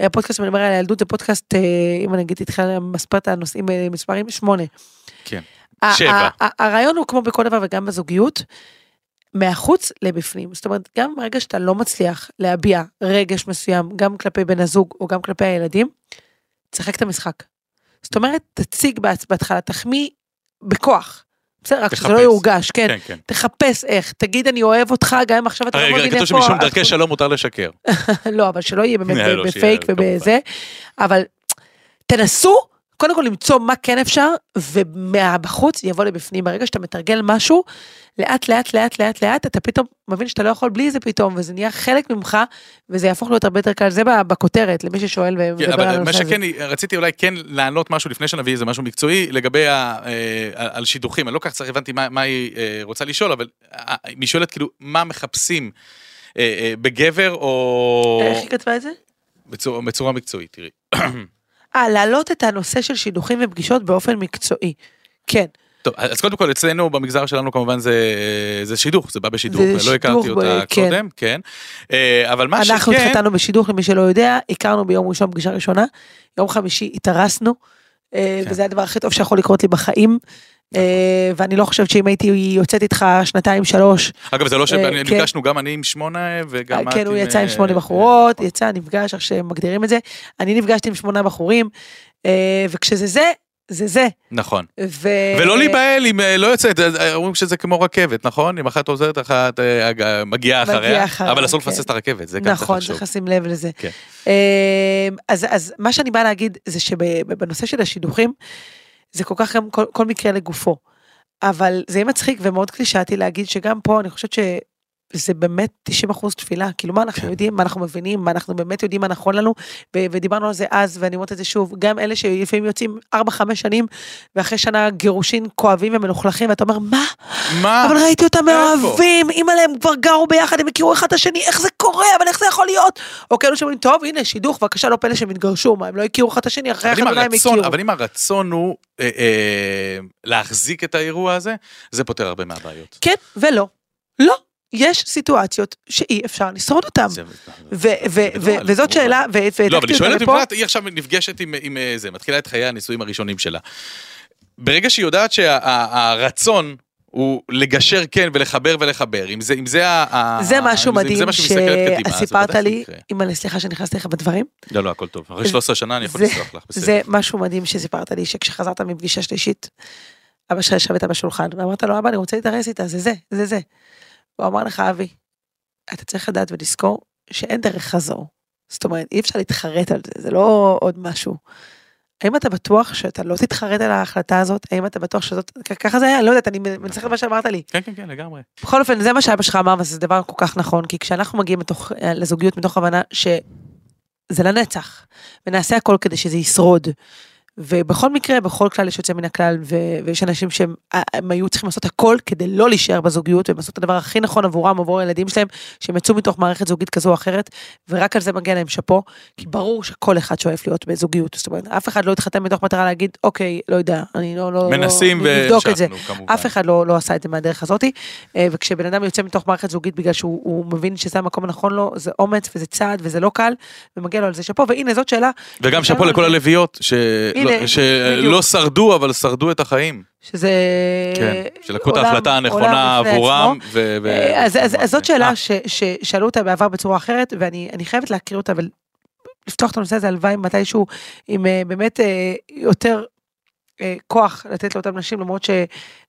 הפודקאסט שאני מדבר על הילדות זה פודקאסט, אה, אם אני אגיד איתך מספרת הנושאים במספרים, שמונה. כן. ה- שבע. ה- ה- הרעיון הוא כמו בכל דבר וגם בזוגיות, מהחוץ לבפנים. זאת אומרת, גם ברגע שאתה לא מצליח להביע רגש מסוים, גם כלפי בן הזוג או גם כלפי הילדים, תשחק את המשחק. זאת אומרת, תציג בעצ- בהתחלה, תחמיא בכוח. בסדר, רק שזה לא תחפש. יורגש, כן. כן, כן. תחפש איך, תגיד אני אוהב אותך, גם אם עכשיו אתה לא רגע, מבין רגע, איפה... כתוב שמשום דרכי אנחנו- שלום מותר לשקר. לא, אבל שלא יהיה באמת אה, *laughs* לא, שיהיה, בפייק כמובן. ובזה, אבל תנסו, קודם כל למצוא מה כן אפשר, ומהבחוץ יבוא לבפנים. ברגע שאתה מתרגל משהו, לאט לאט לאט לאט לאט, אתה פתאום מבין שאתה לא יכול בלי זה פתאום, וזה נהיה חלק ממך, וזה יהפוך להיות הרבה יותר קל. זה בכותרת, למי ששואל כן, ומדבר על אבל מה הנושא הזה. שכן, רציתי אולי כן לענות משהו לפני שנביא איזה משהו מקצועי, לגבי ה- אה, על שידוכים, אני לא כל כך צריך הבנתי מה מה היא אה, רוצה לשאול, אבל אה, היא שואלת כאילו, מה מחפשים אה, אה, בגבר או... איך היא כתבה את זה? בצורה- בצורה מקצועית, תראי. אה, להעלות את הנושא של שידוכים ופגישות באופן מקצועי. כן, טוב, אז קודם כל אצלנו במגזר שלנו כמובן זה, אה, זה שידוך, זה בא בשידוך, זה לא שידוך הכרתי ב- אותה כן. קודם, כן. אה, אבל מה אנחנו שכן, התחתנו בשידוך, למי שלא יודע, הכרנו ביום ראשון פגישה ראשונה, יום חמישי התארסנו, אה, כן. נכון. וזה הדבר הכי טוב שיכול לקרות לי בחיים, אה, ואני לא חושבת שאם הייתי יוצאת איתך שנתיים, שלוש, אגב זה לא אה, שאני כן. נפגשנו גם אני עם שמונה וגם את כן, הוא יצא עם אה, שמונה בחורות, יצא, נפגש, איך שמגדירים את זה, אני נפגשתי עם שמונה בחורים, אה, וכשזה זה, זה זה. נכון. ו... ולא להיבהל אם אה, לא יוצאת, אה, אה, אומרים שזה כמו רכבת, נכון? אם אחת עוזרת, אחת אה, הג- מגיעה אחריה, אחריה, אבל אסור כן. לפסס את הרכבת, זה גם צריך נכון, צריך לחשוב. לשים לב לזה. כן. אמ, אז, אז מה שאני באה להגיד זה שבנושא של השידוכים, זה כל כך גם כל, כל מקרה לגופו. אבל זה יהיה מצחיק ומאוד קלישאתי להגיד שגם פה אני חושבת שזה באמת 90 אחוז תפילה, כאילו מה אנחנו כן. יודעים, מה אנחנו מבינים, מה אנחנו באמת יודעים מה נכון לנו, ו- ודיברנו על זה אז ואני אומרת את זה שוב, גם אלה שלפעמים יוצאים 4-5 שנים ואחרי שנה גירושין כואבים ומלוכלכים ואתה אומר מה? מה? אבל ראיתי אותם אה, איפה? מאוהבים, אימא'לה, הם כבר גרו ביחד, הם הכירו אחד את השני, איך זה קורה, אבל איך זה יכול להיות? או כאלו שאומרים, טוב, הנה, שידוך, בבקשה, לא פלא שהם התגרשו, מה, הם לא הכירו אחד את השני, אחרי אבל אם החתונה הם הרצון, הכירו. אבל אם הרצון הוא אה, אה, להחזיק את האירוע הזה, זה פותר הרבה מהבעיות. כן ולא. לא. יש סיטואציות שאי אפשר לשרוד אותן. זה- ו- ו- ו- בגדול, וזאת שאלה, ו- והעתקתי לא, אבל היא אותה שואלת, לפה. בפרט, היא עכשיו נפגשת עם, עם אה, זה, מתחילה את חיי הנישואים הראשונים שלה. ברגע שהיא יודעת שהרצון הוא לגשר כן ולחבר ולחבר, אם זה, אם זה ה... ה- זה משהו אם אה, זה- אם מדהים זה מה שמסתכלת קדימה, אז שסיפרת בוודאי לי, שזה יקרה. אימא'לה, סליחה שנכנסתי לך בדברים. לא, לא, הכל טוב. אחרי 13 שנה אני יכול זה- לסלוח לך, בסדר. זה משהו מדהים שסיפרת לי, שכשחזרת מפגישה שלישית, אבא שלך ישב איתה בשולחן, ואמרת לו, אבא, אני רוצה להתארס איתה, זה זה, זה זה. הוא אמר לך, אבי, אתה צריך לדעת ולזכור שאין דרך חזור. זאת אומרת, אי אפשר להתחרט על זה, זה לא עוד משהו. האם אתה בטוח שאתה לא תתחרט על ההחלטה הזאת? האם אתה בטוח שזאת... כ- ככה זה היה? אני לא יודעת, אני מנצחת מה שאמרת לי. כן, כן, כן, לגמרי. בכל אופן, זה מה שאבא שלך אמר, וזה דבר כל כך נכון, כי כשאנחנו מגיעים מתוך, לזוגיות מתוך הבנה שזה לנצח, ונעשה הכל כדי שזה ישרוד. ובכל מקרה, בכל כלל יש יוצא מן הכלל, ו- ויש אנשים שהם אה, הם היו צריכים לעשות הכל כדי לא להישאר בזוגיות, והם עשו את הדבר הכי נכון עבורם, עבור הילדים שלהם, שהם יצאו מתוך מערכת זוגית כזו או אחרת, ורק על זה מגיע להם שאפו, כי ברור שכל אחד שואף להיות בזוגיות, זאת אומרת, אף אחד לא התחתן מתוך מטרה להגיד, אוקיי, לא יודע, אני לא, לא, מנסים לא, נבדוק את זה. והמשכנו, כמובן. אף אחד לא, לא עשה את זה מהדרך הזאתי, אה, וכשבן אדם יוצא מתוך מערכת זוגית בגלל שהוא הוא מבין שזה המקום הנכון לו, זה אומץ וזה צעד וזה לא קל, ומגיע לו על זה שאפו, והנה זאת שאלה וגם שאפו הנה, לכל הלוויות, ש- לא, הנה, לא- שלא בדיוק. שרדו, אבל שרדו את החיים. שזה... כן, שלקחו את עולם- ההחלטה הנכונה עולם בפני עבורם. עצמו. ו- ו- אה, אז, אז, אז זאת אה, שאלה ש, ששאלו אותה בעבר בצורה אחרת, ואני אני חייבת להקריא אותה ולפתוח את הנושא הזה, הלוואי מתישהו, עם אה, באמת אה, יותר אה, כוח לתת לאותן נשים, למרות ש...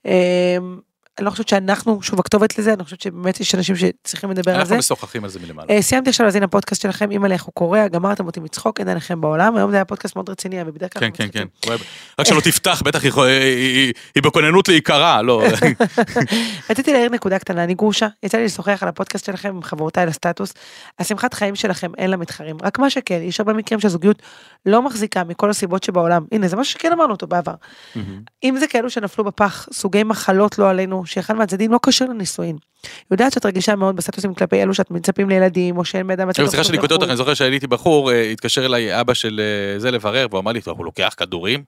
אה, אני לא חושבת שאנחנו שוב הכתובת לזה, אני חושבת שבאמת יש אנשים שצריכים לדבר על זה. אנחנו משוחחים על זה מלמעלה. אה, סיימתי עכשיו להאזין לפודקאסט שלכם, אימא לי איך הוא קורע, גמרתם אותי מצחוק, אין עליכם בעולם, היום זה היה פודקאסט מאוד רציני, אבל בדרך כלל... כן, אנחנו כן, כן. מצחיקים. וואי, רק שלא תפתח, בטח היא חו- היא- היא- היא בכוננות להיקרע, *laughs* לא. כן. רציתי להעיר נקודה קטנה, אני גרושה, יצא לי לשוחח על הפודקאסט שלכם עם חברותיי לסטטוס. השמחת חיים שלכם אין לה מתחרים, רק מה שכן, יש הרבה מקרים שהזוגיות לא מחזיקה מכל הסיבות שבעולם. הנה, זה משהו שכן אמרנו אותו בעבר. אם זה כאלו שנפלו בפח, סוגי מחלות לא עלינו, שאחד מהצדדים לא קשור לנישואין. יודעת שאת רגישה מאוד בסטטוסים כלפי אלו שאת מצפים לילדים, או שאין בידם מצב... כאילו, סליחה שאני קוטע אותך, אני זוכר שהייתי בחור, אה, התקשר אליי אבא של אה, זה לברר, והוא אמר לי, "טוב, הוא לוקח כדורים?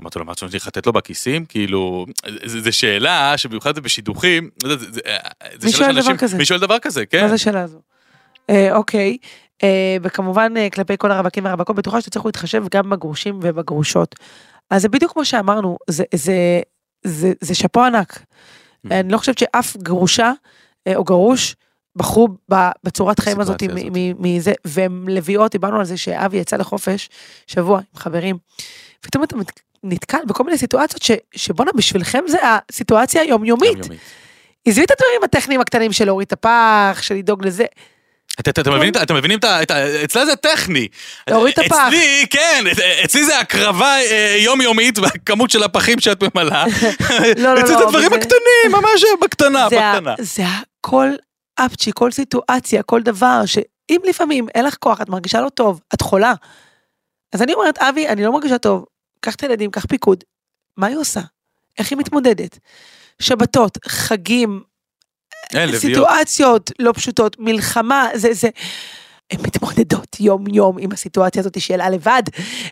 אמרתי לו, מה אתה צריך לתת לו בכיסים? כאילו, זו שאלה שבמיוחד זה בשידוכים, זה- זה- זה- זה שאלה מי שואל דבר שאנשים- כזה? מי שואל דבר כזה, כן. מה זה השאלה הזו? אה, אוקיי, אה, וכמובן אה, כלפי כל הרווקים והרווקות, בטוחה שתצטרכו להתחשב גם בגרושים ובגרושות. אז זה בדיוק כמו שאמרנו, זה, זה, זה, זה שאפו ענק. Mm. אני לא חושבת שאף גרושה אה, או גרוש בחרו ב- בצורת חיים הזאת בסיטואציה מ- מ- מזה, והן לביאות, דיברנו על זה שאבי יצא לחופש שבוע עם חברים. פתאום אתה מת- נתקל בכל מיני סיטואציות ש- שבואנה בשבילכם זה הסיטואציה היומיומית. יומיומית. עזבי את הדברים הטכניים הקטנים של להוריד את הפח, של לדאוג לזה. אתה- אתה- אתם מבינים, את ה- אתם מבינים את ה... את ה- אצלה זה טכני. להוריד את הפח. אצלי, כן, אצ- אצלי זה הקרבה אה, יומיומית והכמות של הפחים שאת ממלאה. *laughs* לא, לא, אצלי זה אבל הדברים זה- הקטנים, ממש אה, בקטנה, זה ה- בקטנה. זה הכל אפצ'י, כל סיטואציה, כל דבר, שאם לפעמים אין לך כוח, את מרגישה לא טוב, את חולה. אז אני אומרת, אבי, אני לא מרגישה טוב, קח את הילדים, קח פיקוד. מה היא עושה? איך היא מתמודדת? שבתות, חגים, אין, לביאות. סיטואציות לא פשוטות, מלחמה, זה, זה... הן מתמודדות יום-יום עם הסיטואציה הזאת של לבד,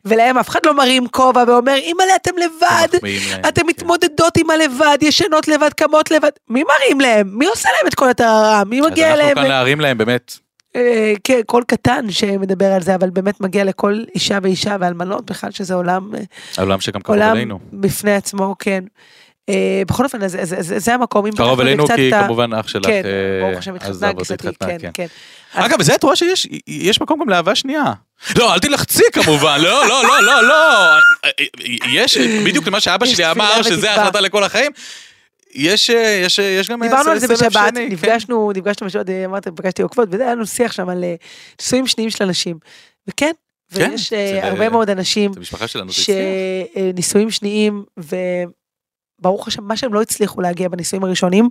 ולהם אף אחד לא מרים כובע ואומר, אימא'לה, אתם לבד, מחמיאים להם, אתן כן. מתמודדות עם הלבד, ישנות לבד, קמות לבד, מי מרים להם? מי עושה להם את כל הטהרה? מי מגיע אז אנחנו אליהם? כאן להרים להם, באמת. אה, כן, קול קטן שמדבר על זה, אבל באמת מגיע לכל אישה ואישה ואלמנות בכלל, שזה עולם, אה, העולם שגם קרוב עולם אלינו. בפני עצמו, כן. אה, בכל אופן, אז- אז- אז- זה המקום, אם קרוב פתחנו אלינו קצת כי את ה- כמובן אח שלך כן, אה, ברוך השם, עזב התחתנה אותי, גיסתי, התחתנה, כן, כן. כן. אגב, זה את רואה שיש יש מקום גם לאהבה שנייה. לא, אל תלחצי כמובן, לא, לא, לא, לא, לא. יש, בדיוק למה שאבא יש שלי אמר, תפילה שזה ותקווה. ההחלטה לכל החיים. יש, אה, יש, אה, יש גם... דיברנו אה, על זה סבב בשבת, שני, כן. נפגשנו, נפגשנו בשבת, אה, אמרת, פגשתי עוקבות, וזה היה לנו שיח שם על אה, נישואים שניים של אנשים. וכן, כן, ויש אה, זה- הרבה מאוד אנשים זה משפחה שלנו, זה הצליח. שנישואים שניים, וברוך השם, מה שהם לא הצליחו להגיע בנישואים הראשונים,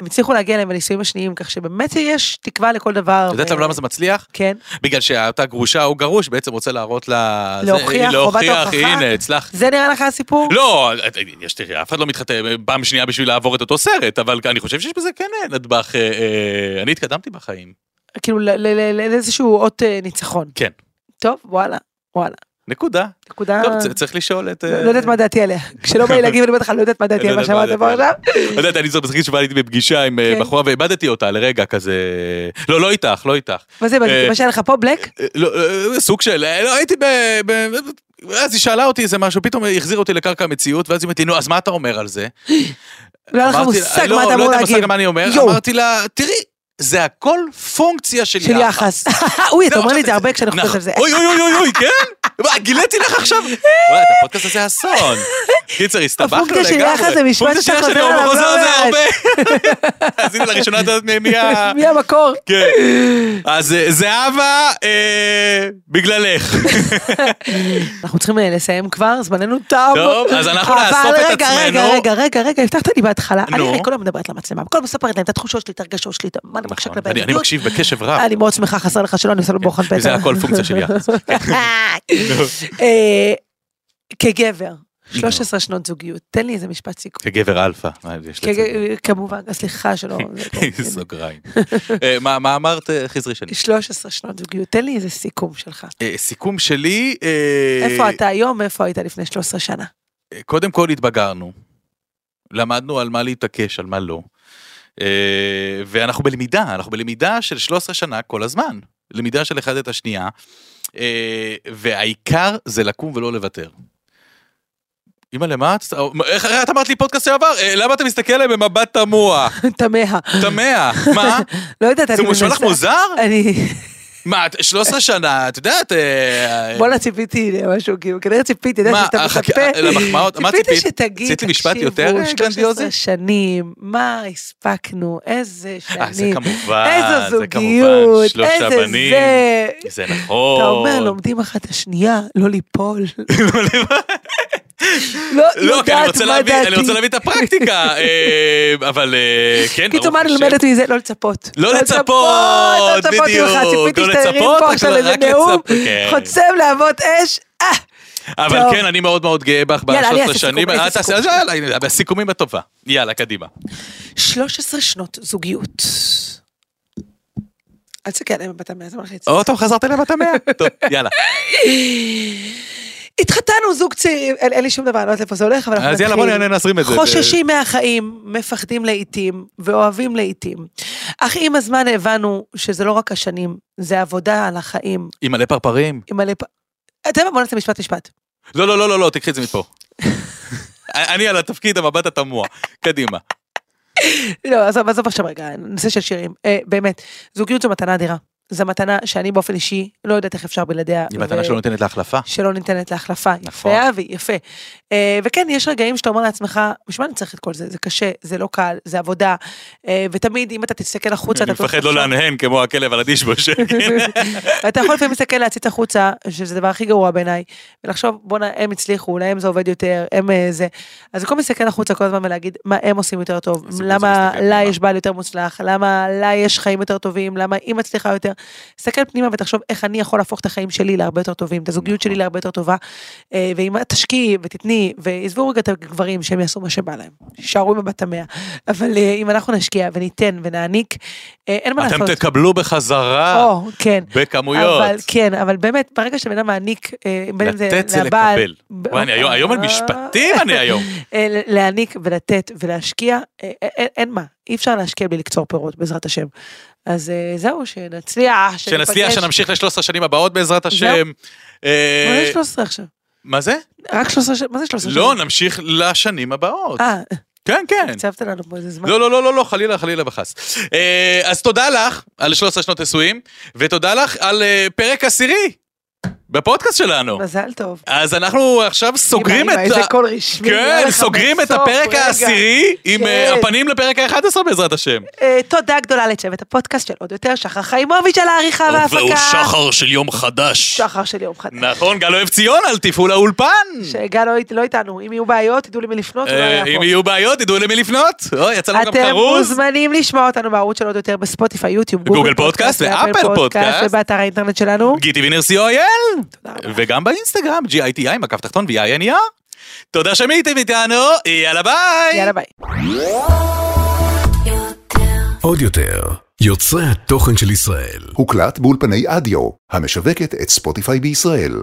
הם הצליחו להגיע אליהם בנישואים השניים, כך שבאמת יש תקווה לכל דבר. את יודעת ו- למה זה מצליח? כן, בגלל שאתה גרושה או גרוש, בעצם רוצה להראות לה... זה- להוכיח, חובת להוכיח, ההוכחה. הנה, הצלחת. זה נראה לך הסיפור? לא, יש, תראי, אף אחד לא מתחתן פעם שנייה בשביל לעבור את אותו סרט, אבל אני חושב שיש בזה כן נדבך, אה, אה, אני התקדמתי בחיים, כאילו ל- ל- ל- לאיזשהו אות אה, ניצחון. לא. כן. טוב, וואלה, וואלה. נקודה. נקודה... טוב, צ- צריך לשאול את... אה. אה, לא לא יודעת מה דעתי *laughs* עליה. כשלא בא לי להגיד, אני אומרת לך, לא יודעת מה לא דעתי על מה יודעת מה שאמרת פה דעתי עליה. עכשיו. את לא יודעת, אני זוכר משחקית שבה הייתי בפגישה עם אה, כן. בחורה ואיבדתי אותה לרגע כזה... לא, לא איתך, לא איתך. מה זה, אה, מה שהיה לך פה, בלק? אה, לא, אה, סוג של... אה, לא, הייתי ב... ב- אז היא שאלה אותי איזה משהו, פתאום היא החזירה אותי לקרקע המציאות, ואז היא אומרת לי, נו, אז מה אתה אומר על זה? לא היה לך אמרתי לה, מושג "לא, מה אתה אמור לא יודע להגיד. מושג מה אני אומר, יואו. אמרתי לה, תראי, זה הכל פונקציה של של יחס. *laughs* אוי, אתה אומר לי את זה הרבה כשאני חושבת על זה. לא, נכון. אוי אוי אוי אוי אוי, כן? מה, גיליתי לך עכשיו? וואי, את הפודקאסט הזה אסון. *laughs* קיצר, הסתבכנו לגמרי. הפונקציה של יחס זה משפט פונקציה שאתה של חוזר יחס, עליו, חוזר לא על זה מעט. הרבה. *laughs* אז הנה לראשונה אתה יודעת מי *laughs* ה... מי המקור? כן. אז אה, זהבה, אה, *laughs* בגללך. נכון. אנחנו צריכים אה, לסיים כבר, זמננו תם. טוב, אז אנחנו אבל נאסוף את רגע, עצמנו. רגע, רגע, רגע, רגע, הבטחת לי בהתחלה. אני נו. הרי כל היום מדברת למצלמה, כל הזמן מספרת להם את התחושות שלי, את הרגשות שלי, את מה אני מרגישה נכון, כלפי אני אני הזוגיות. מקשיב בקשב רב. אני מאוד שמחה, חסר לך שלא, אני עושה לו בוחן פתע. זה הכל פונקציה של יחס. *laughs* אה, כגבר, לא. 13 שנות זוגיות, תן לי איזה משפט סיכום. *laughs* כגבר אלפא. אה, יש *laughs* לציין. כג- כמובן, סליחה שלא... *laughs* זה לא- סוגריים. אה, מה מה אמרת, אה, חזרי שלי? 13 שנות זוגיות, תן לי איזה סיכום שלך. אה, סיכום שלי... אה, איפה אתה היום, איפה היית לפני 13 שנה? *laughs* קודם כל התבגרנו, למדנו על מה להתעקש, על מה לא, אה, ואנחנו בלמידה, אנחנו בלמידה של 13 שנה כל הזמן, למידה של אחד את השנייה, אה, והעיקר זה לקום ולא לוותר. אמא, למה את... אה, איך הרי את אמרת לי פודקאסט שעבר? אה, למה אתה מסתכל עליהם במבט תמוה? תמהה. *laughs* תמה, מה? לא יודעת, אני זה נשמע לך מנסה- מוזר? אני, מה, את 13 שנה, את יודעת... אה, בואנה ציפיתי למשהו, כאילו, כנראה ציפיתי, אתה יודע, מה, שאתה החכה- מחפה, למחמאות, מה ציפיתי ציפית? שתגיד, רצית משפט תקשיבו, יותר, אה, 13 גרנדיוזי? שנים, מה הספקנו, איזה אה, זה שנים, כמובן, איזה זה כמובן, זוגיות, שלושה איזה בנים. זה, זה נכון. אתה אומר, לומדים אחת את השנייה, לא *laughs* ליפול, לא לא, כי אני יודעת רוצה מה להביא- אני רוצה דעתי, להביא את הפרקטיקה, אה, אבל אה, כן, ברוך פתאום מה אני השם. לומדת מזה? לא לצפות. לא לצפות, לא לצפות בדיוק, ממך, ציפיתי לא שאתה תרים לצפות, פה רק עכשיו איזה לצפות, נאום, כן. חוצב להבות אש, אה, אבל טוב. כן, אני מאוד מאוד גאה בך יאללה, אני בשלוש אעשה השנים. סיכום, אה, איזה תעשה- סיכום? יאללה, הנה, הסיכומים הטובה. יאללה, קדימה. 13 שנות זוגיות. אל תסתכל עליהם בבת המאה, זה מלחיץ. *laughs* *laughs* אוקיי. עוד פעם חזרת אליהם אתה מאה? טוב, יאללה. התחתנו זוג צעירים, אין אין לי שום דבר, אני לא יודעת איפה זה הולך, אבל אנחנו אז יאללה, בוא נהנה, נזרים את זה. חוששים מהחיים, מפחדים לעיתים, ואוהבים לעיתים. אך עם הזמן הבנו שזה לא רק השנים, זה עבודה על החיים. עם מלא פרפרים. עם מלא... פ- אתה יודע מה? בוא נעשה משפט משפט. לא, לא, לא, לא, לא, תקחי את זה מפה. *laughs* אני על התפקיד המבט התמוה. קדימה. לא, עזוב, עזוב עכשיו רגע, נושא של שירים. אה, באמת, זוגיות זו מתנה אדירה. זו מתנה שאני באופן אישי לא יודעת איך אפשר בלעדיה. היא מתנה שלא ניתנת להחלפה. שלא ניתנת להחלפה. נכון. נכון. יפה, אבי, יפה. אה, וכן, יש רגעים שאתה אומר לעצמך, בשביל מה אני צריך את כל זה? זה קשה, זה לא קל, זה עבודה. אה, ותמיד, אם אתה תסתכל החוצה, אני אתה... מפחד לא להנהן כמו הכלב על הדישבוש. אתה יכול לפעמים להסתכל להציץ החוצה, שזה הדבר הכי גרוע בעיניי, ולחשוב, בואנה, הם הצליחו, להם זה עובד יותר, הם אה, זה. אז במקום להסתכל החוצה כל הזמן ולהגיד, מה הם עושים יותר טוב, אז במקום למה להסתכל לה פנימה. יש בעל יותר מוצלח, למה לה יש חיים יותר טובים, למה היא מצליחה יותר. תסתכל פנימה ותחשוב איך אני יכול להפוך את החיים שלי להרבה יותר טובים, את הזוגיות שלי להרבה יותר טובה, אה, ואם את תשקיעי ותתני, ועזבו רגע את הגברים שהם יעשו מה שבא להם, שיישארו עם הבת המאה, אבל אה, אם אנחנו נשקיע וניתן ונעניק, אה, אין *laughs* מה אתם לעשות. תקבלו בחזרה או, כן. בכמויות. אבל כן, אבל באמת, ברגע שבן אדם מעניק, אה, בין אם זה לתת זה לבעל... לקבל. ב- וואי, אני היום- היום על משפטים אני היום. *laughs* אה, ל- להעניק ולתת ולהשקיע, אה, אה, אין- אין מה, אי אפשר להשקיע בלי לקצור פירות, בעזרת השם. אז אה, זהו, שנצליח, אה, שנצליח, שנמשיך ל-13 שנים הבאות בעזרת השם. אה, מה זה 13 עכשיו? מה זה? רק 13 שנים? מה זה 13 לא, נמשיך לשנים הבאות. אה, כן, כן. הקצבת לנו פה איזה זמן. לא, לא, לא, לא, לא, חלילה, חלילה וחס. אה, אז תודה לך על 13 שנות נישואים, ותודה לך על אה, פרק עשירי בפודקאסט שלנו. מזל טוב. אז אנחנו עכשיו לא. סוגרים אמא, את אמא, ה... איזה קול רשמי. נראה כן, לך סוגרים את בסוף, הפרק רגע. העשירי עם אה, כן. הפנים לפרק ה-11 בעזרת השם. אה, תודה גדולה לצוות הפודקאסט של עוד יותר, שחר חיימוביץ' על העריכה וההפקה. של יום חדש. שחר של יום חדש. נכון, גל אוהב ציון על תפעול האולפן. שגל לא אית- לא איתנו, אם יהיו בעיות תדעו למי לפנות, הוא לא אה, היה אם פה. יהיו בעיות, תדעו למי לפנות. אוי, יצא לנו גם אתם חרוז. מוזמנים לשמוע אותנו בערוץ של עוד יותר בספוטיפיי, יוטיוב, גוגל פודקאסט ואפל פודקאסט. ובאתר האינטרנט שלנו. גיטי וינר co.il. תודה רבה. וגם באינסטגרם, GITI, עם הקו תחתון ו-INER. E תודה שהייתם איתנו, יאללה ביי! יאללה ביי. עוד יותר, יוצרי התוכן של ישראל. הוקלט באולפני אדיו, המשווקת את ספוטיפיי בישראל.